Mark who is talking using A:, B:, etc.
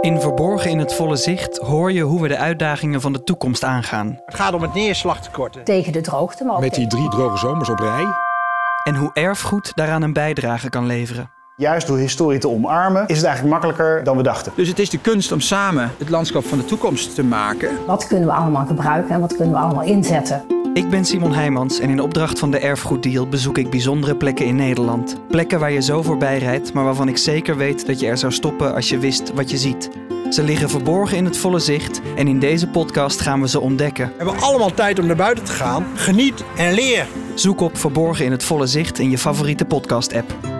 A: In Verborgen in het Volle Zicht hoor je hoe we de uitdagingen van de toekomst aangaan.
B: Het gaat om het neerslagtekort.
C: Tegen de droogte, maar ook
D: Met die drie droge zomers op rij.
A: En hoe erfgoed daaraan een bijdrage kan leveren.
E: Juist door historie te omarmen is het eigenlijk makkelijker dan we dachten.
F: Dus het is de kunst om samen het landschap van de toekomst te maken.
C: wat kunnen we allemaal gebruiken en wat kunnen we allemaal inzetten.
A: Ik ben Simon Heijmans en in opdracht van de Erfgoeddeal bezoek ik bijzondere plekken in Nederland. Plekken waar je zo voorbij rijdt, maar waarvan ik zeker weet dat je er zou stoppen als je wist wat je ziet. Ze liggen verborgen in het volle zicht en in deze podcast gaan we ze ontdekken.
B: We hebben allemaal tijd om naar buiten te gaan. Geniet en leer.
A: Zoek op Verborgen in het volle zicht in je favoriete podcast-app.